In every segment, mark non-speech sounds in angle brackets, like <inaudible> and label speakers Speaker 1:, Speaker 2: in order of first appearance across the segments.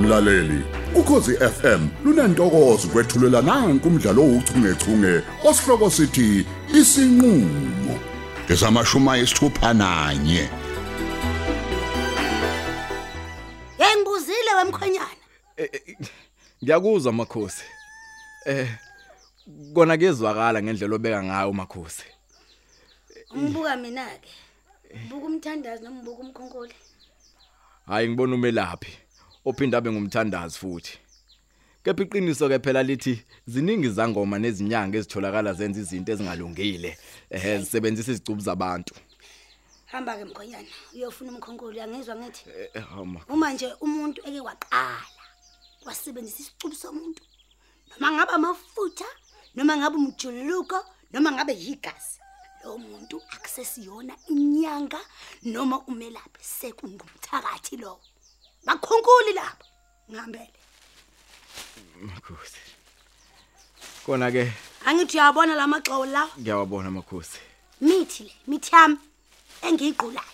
Speaker 1: mlaleli ukhosi FM lunantokozo kwethulela nanku umdlalo ouchungechunge osihloko sithi isinqulo ngesamashuma isithupha nanye
Speaker 2: Ngibuzile wemkhonyana.
Speaker 3: Ngiyakuzwa makhosi. Eh kona kezwakala ngendlela obeka ngayo makhosi.
Speaker 2: Ngibuka mina ke. Buka umthandazi nombuka umkhonkoli.
Speaker 3: Hayi ngibona umelaphi ophinda abe ngumthandazi futhi. Kepha iqiniso ke phela lithi ziningi izangoma nezinyanga ezitholakala zenza izinto ezingalungile. Eh zisebenzisa izicubu zabantu.
Speaker 2: Hamba ke mkhonyana uyofuna umkhonkoli angizwa ngithi.
Speaker 3: Eh hama.
Speaker 2: Uma nje umuntu eke waqala wasebenzisa isicubu somuntu. Noma ngabe amafutha, noma ngabe umjuluko, noma ngabe yigazi. Lo muntu akusesiyona inyanga noma umelaphi sekungumthakathi lo. Bakhonkuli lapha. Ngihambele.
Speaker 3: Makhosi. Kona ke
Speaker 2: Angithi uyabona lamaxowo lawo?
Speaker 3: ngiyawabona makhosi.
Speaker 2: mithi le mithi yami engiyiqulayo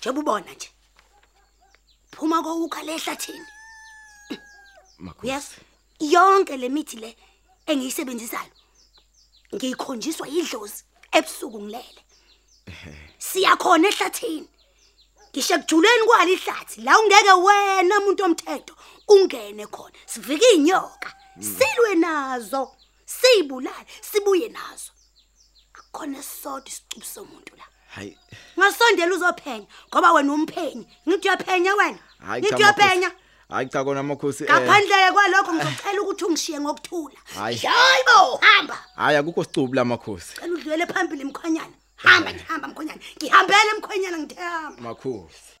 Speaker 2: njeba ubona nje phuma kowukha le ehlathini yes
Speaker 3: Makhosi.
Speaker 2: yonke le mithi le engiyisebenzisayo ngiyikhonjiswa idlozi ebusuku ngilele siyakhona ehlathini ngisho kujuleni kwali ihlathi la ungeke wena umuntu omthetho ungene khona sivike inyoka silwe nazo sibulale sibuye nazo khona sodwa isicubu somuntu la
Speaker 3: Hayi
Speaker 2: ngasondela uzophenya ngoba wena umphenyi ngithi uyaphenya wena
Speaker 3: hayi
Speaker 2: ngithi
Speaker 3: makhosi.
Speaker 2: uyaphenya
Speaker 3: Hayi cha kona makhosi. eh,
Speaker 2: ngaphandle kwalokho ngizocela ukuthi ungishiye ngokuthula
Speaker 3: Hhayi.
Speaker 2: hayibo hamba
Speaker 3: Hayi Eh, akukho sicubu la makhosi.
Speaker 2: cela udlwele phambili mkhonyana hamba nje hamba mkhonyana ngihambele mkhonyana ngithe hamba
Speaker 3: Makhosi.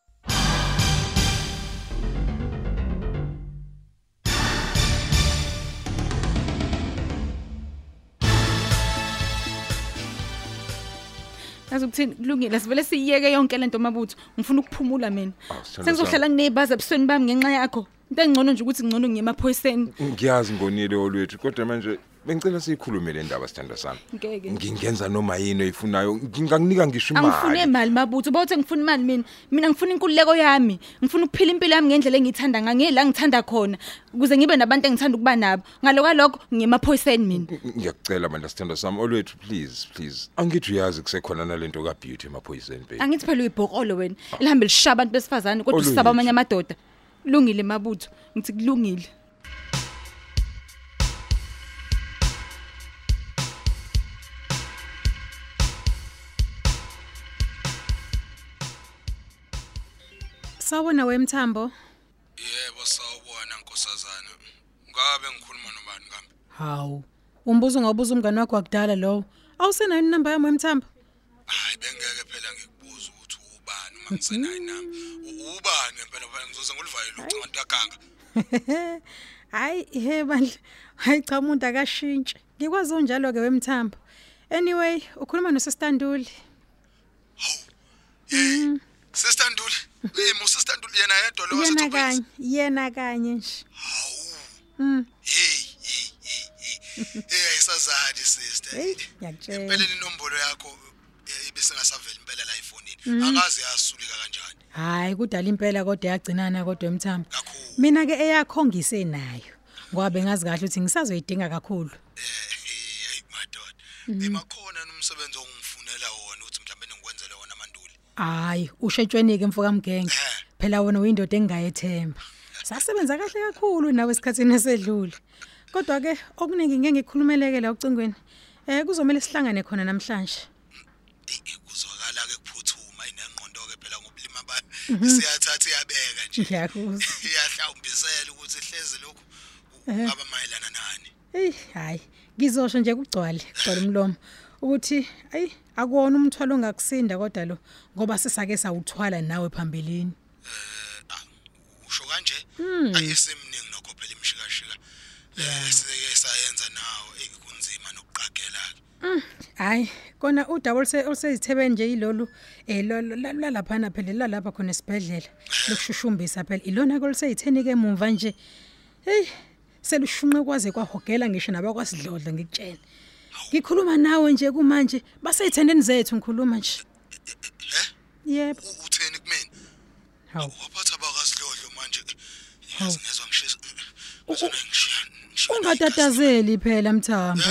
Speaker 4: Yazi ukuthini kulungile sivele siyeke yonke lento mabutho ngifuna ukuphumula mina
Speaker 5: sithandwa
Speaker 4: sengizohlala nginebaza ebusweni bami ngenxa yakho into engcono nje ukuthi ngcono ngiye emaphoyiseni
Speaker 5: Ngiyazi ngonile olwethu kodwa manje bengicela siyikhulume le ndaba sithandwa sami.
Speaker 4: Ngeke.
Speaker 5: Ngingenza noma yini oyifunayo. Ngingakunika ngisho
Speaker 4: angifune
Speaker 5: imali.
Speaker 4: imali mabutho bawuthi ngifuna imali mina mina ngifuna inkululeko yami ngifuna ukuphila impilo yami ngendlela engiyithanda ngayo la ngithanda khona ukuze ngibe nabantu engithanda ukuba nabo ngalokwalokho ngiye emaphoyiseni mina
Speaker 5: Ng- Ngiyakucela manje sithandwa sami olwethu please please. Angithi uyazi kusekhona nalento ka beauty emaphoyiseni baby.
Speaker 4: angithi phela uyibhokolo wena elihambe lishaya abantu besifazane kodwa
Speaker 5: Oluyilo.
Speaker 4: usisaba amanye amadoda kulungile mabutho ngithi kulungile
Speaker 6: Sawona wemthambo?
Speaker 7: Yebo sawubona nkosazana. Ngabe ngikhuluma nobani kambe?
Speaker 6: Hawu. Umbuzo ngobuza umngane wakho wakudala lowo. Awusenayo inamba yami wemthambo?
Speaker 7: Hayi bengeke phela ngikubuze ukuthi ubani uma ngisenayo inamba. U- Ubani ngempela phela ngizoze ngolivaye lo ucanti yaganga.
Speaker 6: Hayi he bandla. Hayi cha umuntu akashintshi. Ngikwazi unjalo ke wemthambo. Anyway, ukhuluma noSistanduli.
Speaker 7: Hey. Sister Nduli, hey mo Sister Nduli yena yedwa lo
Speaker 6: Mm. Yena
Speaker 7: wasethopheni.
Speaker 6: kanye, yena kanye nje.
Speaker 7: Hey, hey, hey, hey. Hey ayisazali sister.
Speaker 6: Hey, ngiyakutshela.
Speaker 7: Impela inombolo yakho eh, ibisengasavela impela la ifonini.
Speaker 6: Mm.
Speaker 7: Angazi yasulika kanjani.
Speaker 6: Hayi kudala impela kodwa yagcinana kodwa wemthambo.
Speaker 7: Kakhulu.
Speaker 6: Mina ke eyakho ngisenayo. Ngoba bengazi kahle ukuthi ngisazoyidinga kakhulu.
Speaker 7: Hey madoda. Emakhona nomsebenzi ongifunela wona uthi mhlawumbe ngikwenzele wona amanduli.
Speaker 6: Hayi, ushetshweni ke mfoka mgenge. Phela wena uyindoda engingayethemba. Sasebenza kahle kakhulu nawe esikhatsini esedlule. Kodwa ke okuningi ngeke ngikhulumeleke la ucingweni. Eh kuzomela sihlangane khona namhlanje.
Speaker 7: Eh, kuzwakala ke kuphuthuma inengqondo ke phela ngobulima bayo siyathatha iyabeka nje
Speaker 6: Ngiyakuzwa.
Speaker 7: iyahlawumbisela ukuthi hleze lokhu ngaba mayelana nani
Speaker 6: Ey, hayi, ngizosho nje kugcwale, gcwale umlomo. Ukuthi ayi akuwona umthwalo ongakusinda kodwa lo ngoba sisake sawuthwala nawe phambilini.
Speaker 7: Ah, usho kanje ayisemningi nokho phela imishikashika eh sike sayenza nawo ekunzima nokuqagela
Speaker 6: Hayi, kona udouble se osezithebe nje ilolu eh lo- lo- la- lalaphana phela lalapha khona esibhedlela lokushushumbisa phela ilona koluseyithenike emuva nje. Hey, selushunqe kwaze kwahogela ngisho nabakwasidlodlo ngikutshela. Ngikhuluma nawe nje kumanje baseyithendeni zethu ngikhuluma nje. Yebo.
Speaker 7: utheni kumina
Speaker 6: Hawu.
Speaker 7: waphatha bakasidlodlo manje yazi ngezwe ngishisa uzona ngishiya ngishiya
Speaker 6: Ungatatazeli phela Mthambo.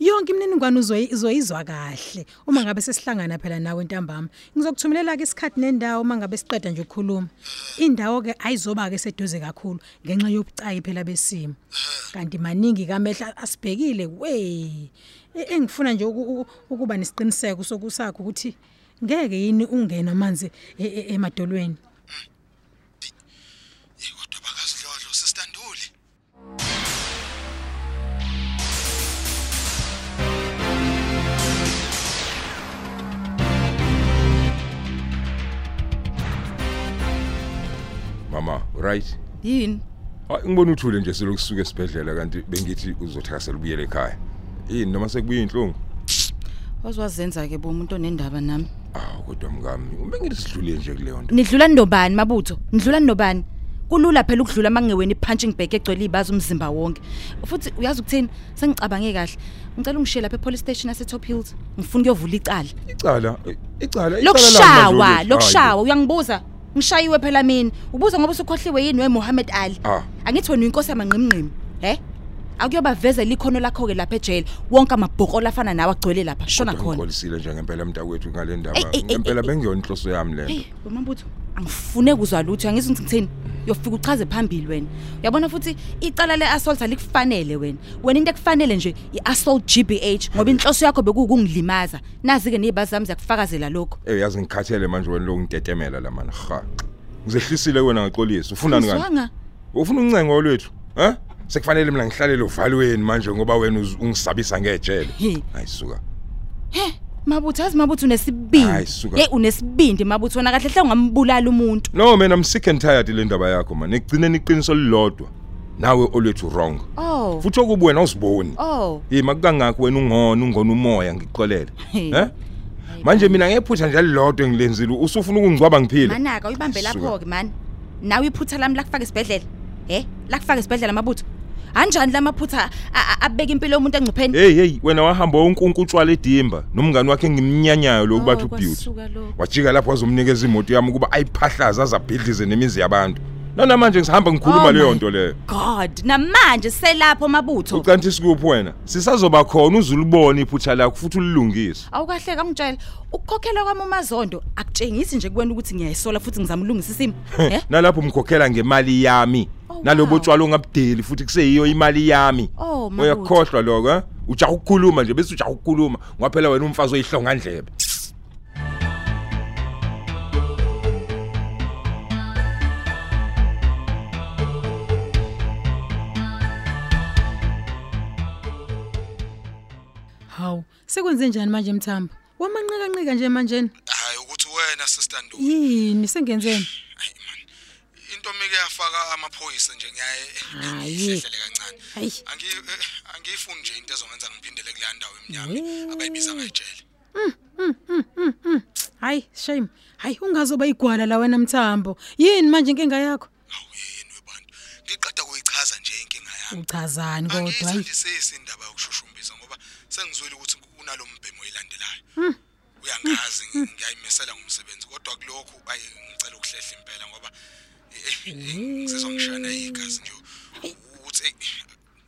Speaker 6: Yonke imininingwane uzoyi- uzoyizwa kahle uma ngabe sesihlangana phela nawe ntambama. Ngizokuthumelela ke isikhathi nendawo uma ngabe siqeda nje ukukhuluma. Indawo ke ayizoba ke seduze kakhulu ngenxa yobucayi phela besimo. Kanti maningi kamehla asibhekile we. E- Engifuna nje uku- uku- ukuba nesiqiniseko sokusakho ukuthi ngeke yini ungena manje e- e- emadolweni.
Speaker 7: Eh, kodwa bakazidlodlo sisitanduli
Speaker 5: mama right
Speaker 4: yini
Speaker 5: hayi ngibona uthule nje selokhu suka esibhedlela kanti bengithi uzothakasela ubuyele ekhaya yini noma sekubuye inhlungu
Speaker 8: waziwazenza ke bo umuntu onendaba nami
Speaker 5: awu kodwa mngami ubengithi sidlule nje kuleyo nto
Speaker 8: nidlula nobani mabutho nidlula nobani kulula phela ukudlula mangewena ipunching bag egcwele ibaza umzimba wonke futhi uyazi ukuthini sengicabange kahle ngicela ungishiye lapha epolice station yasetop hills ngifuna ukuyovula icala
Speaker 5: icala eh, icala icala lami
Speaker 8: lokushawa
Speaker 5: madlovu.
Speaker 8: lokushawa uyangibuza ngishayiwe phela mina ubuza ngoba usukhohliwe yini weMohammed Ali
Speaker 5: Ah.
Speaker 8: angithi wena uyinkosi yamanqimnqimi he akuyobavezela ikhono lakho ke lapha ejele wonke amabhokolo afana nawe agcwele lapha shona
Speaker 5: Kodwa
Speaker 8: khona
Speaker 5: ngixolisile nje ngempela mntakwethu ngale
Speaker 8: Ey,
Speaker 5: ndaba
Speaker 8: ey, ey,
Speaker 5: ngempela
Speaker 8: ey.
Speaker 5: bengiyona inhloso yami le nto
Speaker 8: hey bomambutho angifune kuzwa lutho angizwe ukuthi ngithini uyofika uchaze phambili wena uyabona futhi icala le-assault alikufanele wena wena into ekufanele nje i-assault g b h ngoba inhloso yakho bekuwukungilimaza nazi-ke ney'bazi zami ziyakufakazela lokho
Speaker 5: Eh yazi ngikhathele manje wena lokuntetemela la mana ha ngizehlisile wena ngaxolisa ufunani kanti
Speaker 8: Angizwanga.
Speaker 5: ufuna uncengo olwethu ha sekufanele mina ngihlalele uvalweni manje ngoba wena uz- ungisabisa ngejele
Speaker 8: He.
Speaker 5: ayisuka
Speaker 8: mabutho yazi mabutho unesibindi
Speaker 5: Hayi, suka.
Speaker 8: yeyi unesibindi mabutho wona kahle hle ungambulala umuntu
Speaker 5: no man i'm sick and tired le ndaba yakho man ekugcineni iqiniso lilodwa nawe olwethu wrong
Speaker 8: oh
Speaker 5: futhi okubu wena usiboni
Speaker 8: oh
Speaker 5: hey makukangakho wena ungona ungona umoya ngixolele
Speaker 8: Hey.
Speaker 5: he manje mina ngephutha njalo lodwa engilenzile usufuna ukungicwaba ngiphile
Speaker 8: manaka uyibambe
Speaker 5: Suka.
Speaker 8: lapho-ke mani nawe iphutha lami lakufaka esibhedlela he lakufaka esibhedlela mabutho anjani la maphutha a- a- abeka impilo yomuntu engcupheni
Speaker 5: hey hey wena wahamba wonkunku utshwala edimba nomngani wakhe engimnyanyayo
Speaker 8: Oh,
Speaker 5: loku bathi ubeauty
Speaker 8: kwasuka lokho.
Speaker 5: wajika lapho wazomnikeza imoto yami ukuba ayiphahlaze azabhidlize nemizi yabantu nanamanje ngisahamba ngikhuluma
Speaker 8: Oh
Speaker 5: leyo
Speaker 8: my
Speaker 5: nto leyo
Speaker 8: god namanje selapho mabutho
Speaker 5: ucanti sikuphi wena sisazoba khona uzulibone iphutha lakho futhi ulilungise
Speaker 8: awukahle kangitshela ukukhokhelwa kwami umazondo akutshengisi nje kuwena ukuthi ngiyayisola futhi ngizama ulungisa isimo eh? he
Speaker 5: nalapho umkhokhela ngemali yami
Speaker 8: Oh,
Speaker 5: nalobo
Speaker 8: wow.
Speaker 5: tshwala ongabudeli futhi kuseyiyo imali yami
Speaker 8: Oh, Mabutho.
Speaker 5: uyakhohlwa lokho eh? ujaha ukukhuluma nje bese ujaha ukukhuluma ngaphela wena umfazi oyihlonga ndlebe
Speaker 6: Hawu, sekwenze njani manje Mthambo? Wamanqika nqika nje manje.
Speaker 7: hayi ukuthi wena sisitanduli
Speaker 6: Yini sengenzeni?
Speaker 7: hayi man into mike yafaka amaphoyisa nje ngiyaye ngihlele kancane
Speaker 6: Hayi.
Speaker 7: angi eh, angiyifuni nje into ezongenza ngiphindele kule ndawo emnyama abayibiza ngajele
Speaker 6: Hayi, shame. Hayi ungazoba igwala la wena Mthambo. Yini manje inkinga yakho?
Speaker 7: awu yini webantu ngiqeda kuyichaza nje inkinga yami
Speaker 6: Uchazani kodwa hayi.
Speaker 7: angiyithandisisi indaba yokushushumbisa ngoba sengizwile ukuthi unalombhemo oyilandelayo
Speaker 6: Hmm.
Speaker 7: uyangazi ngi- ngiyayimisela ngomsebenzi kodwa kulokhu ayi ngicela ukuhlehla impela ngoba eh, eh, eh, ngizizwa ngishana igazi nje ukuthi eh,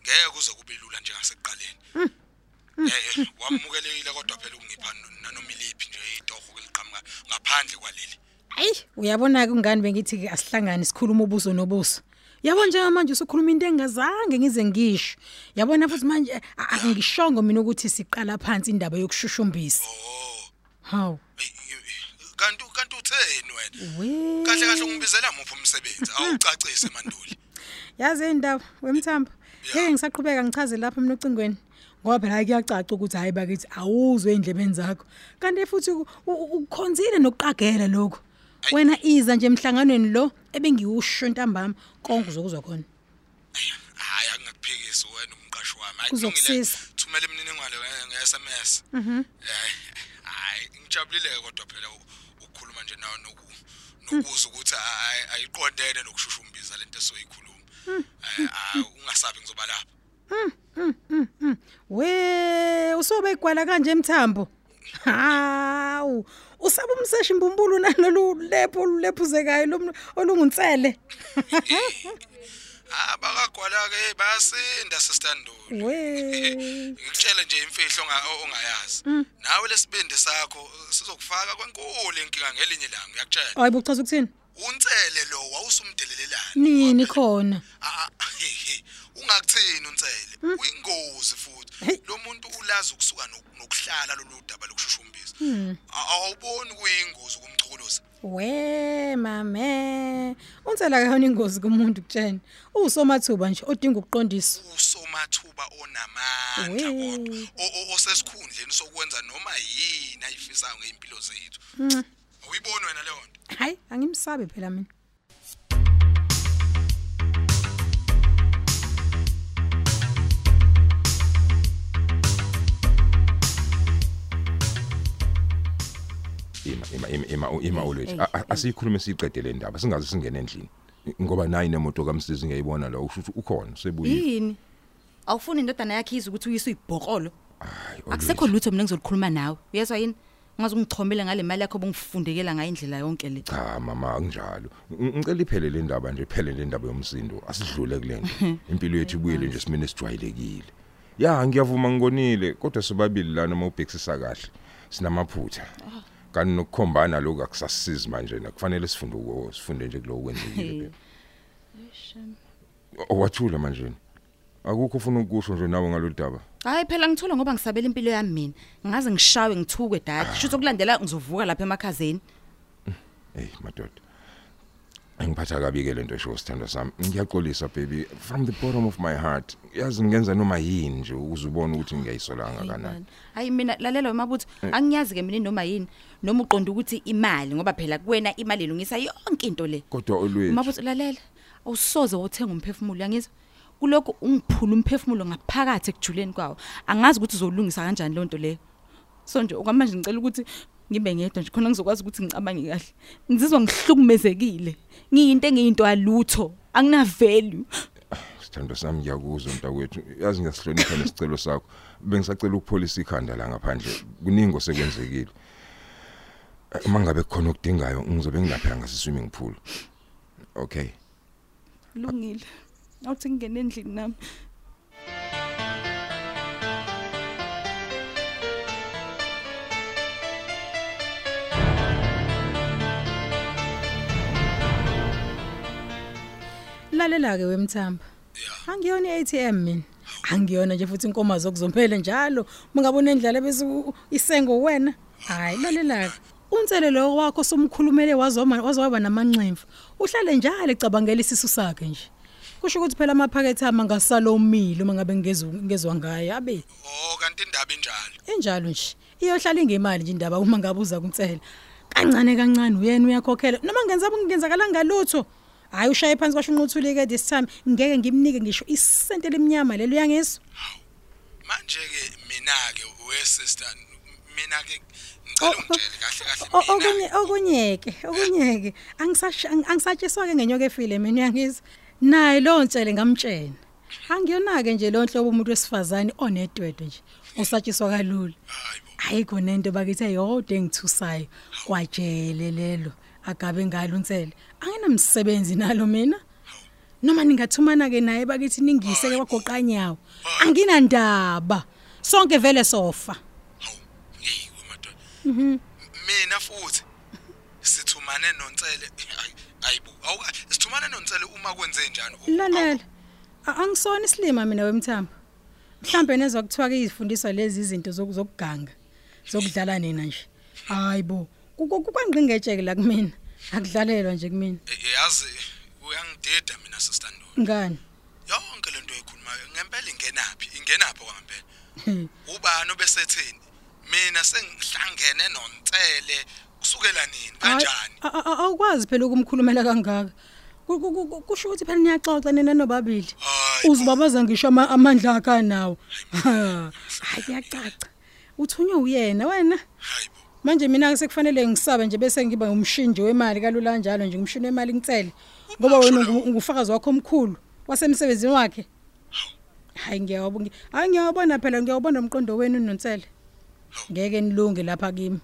Speaker 7: ngeke kuze kube lula njengasekuqaleni
Speaker 6: Hmm.
Speaker 7: eh eh, wamukelekile kodwa phela ukungipha no- nanoma iliphi nje itoho keliqhamuka ngaphandle kwaleli
Speaker 6: Hayi, uyabona ke ungani bengithi ke asihlangane sikhuluma ubuso nobuso. Yabona nje manje usukhuluma into engazange ngize ngisho. Yabona futhi manje a- a- angishongo mina ukuthi siqala phansi indaba yokushushumbisa.
Speaker 7: oh
Speaker 6: Hawu.
Speaker 7: eh, eh, kanti kanti utheni wena
Speaker 6: We.
Speaker 7: kahle kahle ungibizela muphi umsebenzi awucacise manduli
Speaker 6: Yazi indaba wemthambo. Ngeke ngisaqhubeka ngichaze lapha mina ocingweni. Ngoba phela hayi kuyacaca ukuthi hayi bakithi awuzwe endlebeni zakho. Kanti futhi u- u- ukukhonzile nokuqagela lokho. Wena iza nje emhlanganweni lo ebengiwusho ntambama konke uzokuzwa khona.
Speaker 7: hayi angingakuphikisi wena umqashi wami Hayi,
Speaker 6: Kuzokusiza.
Speaker 7: kulungile. thumela imininingwane nge- nge-sms Eh, hayi ngijabulile kodwa phela u- ukukhuluma nje nawe noku- nokuza ukuthi ayi- ayiqondene nokushushumbiza lento esoyikhuluma Eh, ah, ungasabi ngizoba lapha
Speaker 6: We usobe igwala kanje emthambo. Hawu, usaba umseshi mbumbulu nalolu lepho olulephuzekayo olungunsele.
Speaker 7: Ah, abakagwala ke basinda sisitandule
Speaker 6: we
Speaker 7: <laughs> ngikutshele nje imfihlo onga- ongayazi nawe lesibindi sakho sizokufaka kwenkulu inkinga ngelinye ilanga ngiyakutshela
Speaker 6: hayi buchaza ukuthini
Speaker 7: unsele lo wawusumdelelelana
Speaker 6: nini khona
Speaker 7: Ah, ah, <laughs> ungakuthini unsele
Speaker 6: Hmm?
Speaker 7: uyingozi futhi lo muntu ulazi ukusuka nok- nokuhlala lolu daba lokushushumbisa
Speaker 6: Hmm.
Speaker 7: A- awuboni kuyingozi kumchukuluzi
Speaker 6: we mame unsela kayona ingozi kumuntu kutshena uwusomathuba nje odinga ukuqondiswa
Speaker 7: usomathuba onamandla
Speaker 6: Weh.
Speaker 7: kodwa o- o- osesikhundleni sokwenza noma yini ayifisayo ngeimpilo zethu
Speaker 6: Hmm.
Speaker 7: awuyiboni wena leyo nto
Speaker 6: hayi angimsabi phela mina
Speaker 5: ima ima ima ima ima olwethu asiyikhulume siyiqede le ndaba singaze singene endlini ngoba nayi nemoto kamsizi ngiyayibona la usho ukuthi ukhona sebuyile
Speaker 8: yini awufuni indodana yakhe izwe ukuthi uyise uyibhokolo
Speaker 5: Hayi,
Speaker 8: akusekho lutho mina engizokhuluma nawe uyezwa yini ungaze ungichomele ngale mali yakho obungifundekela ngayo indlela yonke le
Speaker 5: cha mama kunjalo Ng- ngicela iphele le ndaba nje iphele le ndaba yomsindo asidlule kulento impilo yethu ibuyele nje simene sijwayelekile ya ngiyavuma ngikonile kodwa sobabili lana mawubhekisisa kahle sinamaphutha kanti nokukhombana lokhu akusasisizi manje nakufanele sifunde uko sifunde nje kulo kwenzekile owathula manje akukho ufuna ukusho nje nawe ngalodaba
Speaker 8: hayi phela ngithule ngoba ngisabela impilo yami mina ngaze ngishawe ngithuke dade shuthi okulandela ngizovuka lapha emakhazeni
Speaker 5: Hey madoda. Engiphatha kabi ke lento esho sithando sami. Ngiyaxolisa baby from the bottom of my heart. Yazi ngenza noma yini nje ukuze ubone ukuthi ngiyayisolanga kanani.
Speaker 8: hayi mina lalela wemabutho angiyazi ke mina noma yini noma uqonda ukuthi imali ngoba phela kuwena imali ilungisa yonke into le
Speaker 5: Kodwa olwethu
Speaker 8: umabutho lalela awusoze wothenga umphefumulo yangizwa kuloko ungiphula umphefumulo ngaphakathi ekujuleni kwawo angazi ukuthi uzolungisa kanjani lento leyo so nje okwamanje ngicela ukuthi ngibe ngedwa nje khona ngizokwazi ukuthi ngicabange kahle ngizizwa ngihlukumezekile ngiyinto engiyinto yalutho anginavalue
Speaker 5: sithando sami ngiyakuzwa mntakwethu. Yazi ngiyasihlonipha nesicelo sakho. Bengisacela ukupholisa ikhanda la ngaphandle. Kuningi osekwenzekile. Eh, Uma ngabe kukhona okudingayo ngizobe ngilaphanga siswimming pool. Okay.
Speaker 8: lungile awuthi ngingena endlini nami
Speaker 6: lalela ke wemthamba angiyona i-ATM mina angiyona nje futhi inkomo zokuzomphele njalo mngabona indlela bese u- isengo wena hayi lalela ke unsele lo wakho somkhulumele wazoma wazwaba namanxemfu uhlale njalo ecabangela isisu sakhe nje kusho ukuthi phela amaphakethe ama ngasalomile uma ngabe ngezwe ngezwe ngayo abe
Speaker 7: oh kanti indaba injalo
Speaker 6: enjalo nje iyohlala ingemali nje indaba uma ngabe uza kuntsela kancane kancane uyena uyakhokhela noma ngenza kungenzakalanga ngalutho hayi ushaye phansi kwasho unquthulike this time ngeke ngimnike ngisho isente lemnyama lelo yangeso
Speaker 7: manje ke mina ke we sister mina ke
Speaker 6: Oh,
Speaker 7: ngicela ungitshele kahle
Speaker 6: o-
Speaker 7: kahle mina
Speaker 6: okunye okunyeke okunyeke angisash- ang- angisatshiswa ke ngenyoka efile mina uyangizwa naye lo ntshele ngamtshena angiyona ke nje lo nhlobo umuntu wesifazane onedwedwe nje usatshiswa kalula
Speaker 7: hayibo
Speaker 6: ayikho nento bakithe yodwa engithusayo kwajele lelo agabe ngalo unsele anginamsebenzi nalo mina noma ningathumana ke naye bakithi ningise ke wagoqa nyawo anginandaba sonke vele sofa
Speaker 7: hawu yiwe madoda mina futhi sithumane nonsele Ay- ayibo awuka sithumane nonsele uma kwenze njani u-
Speaker 6: lalela a- angisona isilima mina wemthambo mhlambe nezwa kuthiwa ke izifundiswa lezi izinto zoku- zokuganga zokudlala nina nje hayibo kukwangqingetsheke la kumina akudlalelwa nje kumina
Speaker 7: Eh, eh, yazi uyangidida mina sister Ndolo
Speaker 6: ngani
Speaker 7: yonke lento oyikhulumayo ngempela ingenaphi ingenaphi kwangempela ubani obesetheni mina sengihlangene nonsele kusukela nini
Speaker 6: Hayi,
Speaker 7: kanjani
Speaker 6: a- a- a- awukwazi phela ukumkhulumela kangaka Ku- ku- ku- ku- kusho ukuthi phela niyaxoxa nina nobabili
Speaker 7: Hayi,
Speaker 6: uzibabaza ngisho ama- amandla akha nawo hayi kuyacaca uthunywe uyena wena
Speaker 7: hayibo
Speaker 6: manje mina ke sekufanele ngisabe nje bese ngiba umshini nje wemali kalula kanjalo nje ngumshini wemali ngitsele ngoba wena ungu- ungufakazi wakho omkhulu wasemsebenzini wakhe hayi ngiyawabonga hayi ngiyawabona phela ngiyawubona umqondo wenu nonsele ngeke nilunge lapha kimi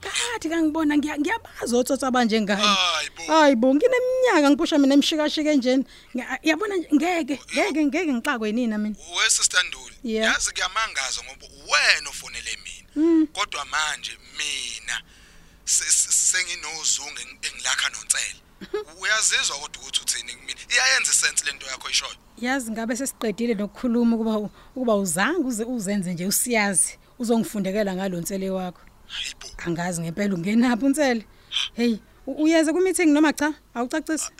Speaker 6: kathi kangibona ngiya- ngiyabazi otsotsa abanjengani
Speaker 7: Hayi bo.
Speaker 6: hayi bo ngineminyaka ngiphusha mina emshikashika enjeni Ngiya- yabona nje, ngeke ngeke ngeke ngixakwe nina mina
Speaker 7: wesister Nduli
Speaker 6: Yeah.
Speaker 7: yazi kuyamangaza ngoba wena ofonele mina kodwa manje mina se- se- senginozungu eng- engilakha nonsele uyazizwa kodwa ukuthi uthini kimi iyayenza isense lento yakho ishoyo
Speaker 6: yazi ngabe sesiqedile nokukhuluma ukuba u- ukuba uzange uze uzenze nje usiyazi uzongifundekela ngalonsele wakho
Speaker 7: hayibo
Speaker 6: angazi ngempela ungenapho unsele hey u- uyeze ku meeting noma cha awucacisi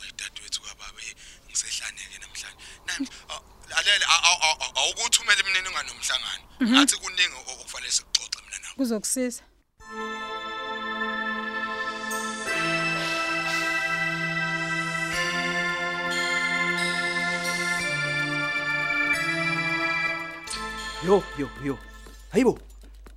Speaker 7: uyidadewethu kababa eh, ngisehlaneke namhlanje nami lalela awukuthumela imininingwane nomhlangano athi kuningi o- okufanele sikuxoxe mina nawe
Speaker 6: kuzokusiza
Speaker 9: yo yo yo hayibo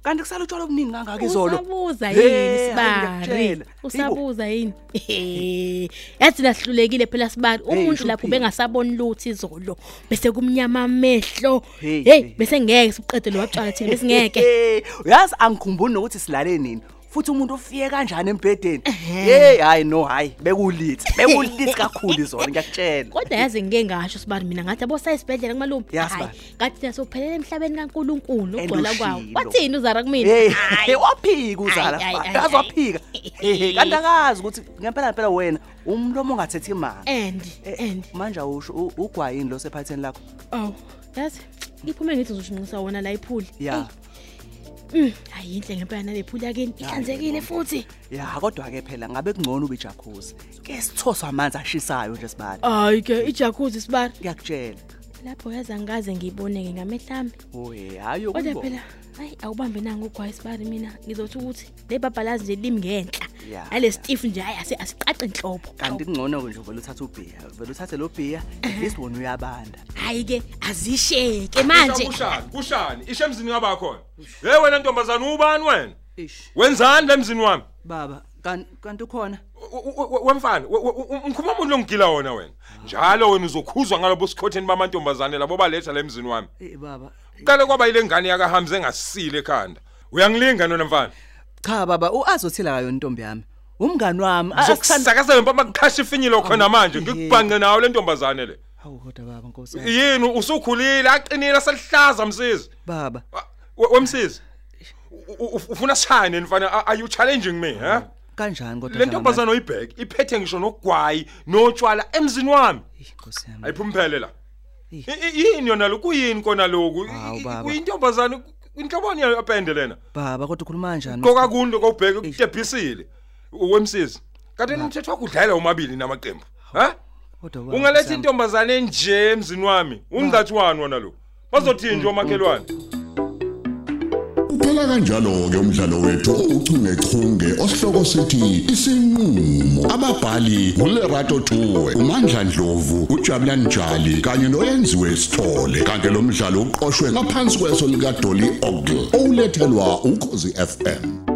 Speaker 9: kanti kusala utshwala obuningi kangaka izolo
Speaker 10: Usabuza
Speaker 9: Hey, hayi,
Speaker 10: yini Sibari?
Speaker 9: ngiyakutshela.
Speaker 10: Usabuza yini? <laughs> Ehe, Yathi lahlulekile phela Sibari. Umuntu lapho
Speaker 9: hluphile.
Speaker 10: bengasaboni lutho izolo. Bese kumnyama amehlo.
Speaker 9: Hey, hey.
Speaker 10: Hey, bese ngeke siqede lo watshala thina bese ngeke.
Speaker 9: Eh, uyazi angikhumbuli nokuthi silale nini futhi umuntu ufike kanjani embhedeni hey hayi no hayi bekulithi bekulithi kakhulu izolo ngiyakutshela
Speaker 10: Kodwa yazi ngeke ngasho Sibari mina ngathi abo sayisibhedlela kumalume.
Speaker 9: Ya,
Speaker 10: Hhayi,
Speaker 9: Sibari.
Speaker 10: Ngathi nasophelele emhlabeni kaNkuluNkulu ugcwala
Speaker 9: Elushilo.
Speaker 10: kwawo. Wathini uzara kumina?
Speaker 9: hey waphika uzala
Speaker 10: Ayi, ayi, ayi,
Speaker 9: kaze
Speaker 10: ayi.
Speaker 9: waphika Eh, kanti akazi ukuthi ngempela ngempela wena umlomo ongathethi manga
Speaker 10: and
Speaker 9: Eh,
Speaker 10: and
Speaker 9: manje awusho u- ugwayini lo sephatheni lakho
Speaker 10: oh yazi ngiphume ngithi uzoshinqisa wona la iphuli
Speaker 9: ya
Speaker 10: Mm, hayi inhle ngempela nale phuli yakini ihlanzekile futhi
Speaker 9: ya kodwa-ke phela ngabe kungcono ube ijakhuzi ke sithoswa amanzi ashisayo nje sibali
Speaker 10: hayi ke ijakhuzi sibari
Speaker 9: ngiyakutshela
Speaker 10: lapho yaza ngaze ngiyibone-ke ngamehlami
Speaker 9: oye hhayi
Speaker 10: kodwa
Speaker 9: yokubo.
Speaker 10: phela hayi awubambe nango ugwayi sibari mina ngizothi ukuthi le babhalazi nje limi ngenhla
Speaker 9: Ya,
Speaker 10: nale
Speaker 9: ya.
Speaker 10: stifu nje hayi ase- asiqace nhlobo
Speaker 9: kanti kungcono-ke nje vele uthathe ubhiya vele uthathe lo bhiya at least wona uyabanda
Speaker 10: hhayi-ke azisheke manje
Speaker 5: kushani kushani ishe emzini kabakhona hey wena ntombazana ubani wena
Speaker 9: ish
Speaker 5: wenzani lemzini wami
Speaker 9: baba kan- kanti ukhona
Speaker 5: wemfana ngikhuluma umuntu longigila wona wena njalo wena uzokhuzwa ngalabo sikhotheni bamantombazane labo baletha lemzini wami
Speaker 9: Eh, baba
Speaker 5: qale kwaba yile ngane yakahamza engasile ekhanda uyangilinga nona mfana
Speaker 9: cha baba uazothila kayo intombi yami umngani wami Asikuthanda-
Speaker 5: Sokusakazela impama kuqhasha ifinyilo khona manje ngikubhanqe nawo le ntombazane le.
Speaker 9: hawu kodwa baba nkosi yami.
Speaker 5: Yini usukhulile aqinile Ah, selihlaza msisi.
Speaker 9: baba
Speaker 5: Wemsisi. u- u- Ufuna shine mfana a- are you challenging me ha?
Speaker 9: kanjani kodwa
Speaker 5: Le
Speaker 9: mhlanga
Speaker 5: ntombazane oyibhek iphethe ngisho nogwayi notshwala emzini wami.
Speaker 9: manje? Eh, nkosi yami
Speaker 5: Ayiphumpele la.
Speaker 9: Eh.
Speaker 5: I- i- Yini yona lokuyini kona lokhu?
Speaker 9: Hawu, baba.
Speaker 5: Uyintombazane inhloboni yayo apende lena.
Speaker 9: baba kodwa ukhuluma kanjani
Speaker 5: Qoka kunto kobheka ukutebhisile. Wemsisi. Kanti umthetho wakho udlala umabili namaqembu. Ha?
Speaker 9: kodwa baba,
Speaker 5: Ungaletha
Speaker 9: nkosi yami.
Speaker 5: intombazane enje emzini wami. Ungathi wani wona lo? Bazothini
Speaker 9: Mm,
Speaker 5: nje omakhelwane?
Speaker 1: Kuphela kanjalo ke umdlalo wethu ouchungechunge osihloko sithi isinqulo. Ababhali uLerato Tuwe, uMandla Dlovu, uJabulani Njali kanye noyenziwe Sithole. Kanti lo mdlalo uqoqwwe ngaphansi kweso lika Dolly Ogle. Olethelwa ukhosi FM.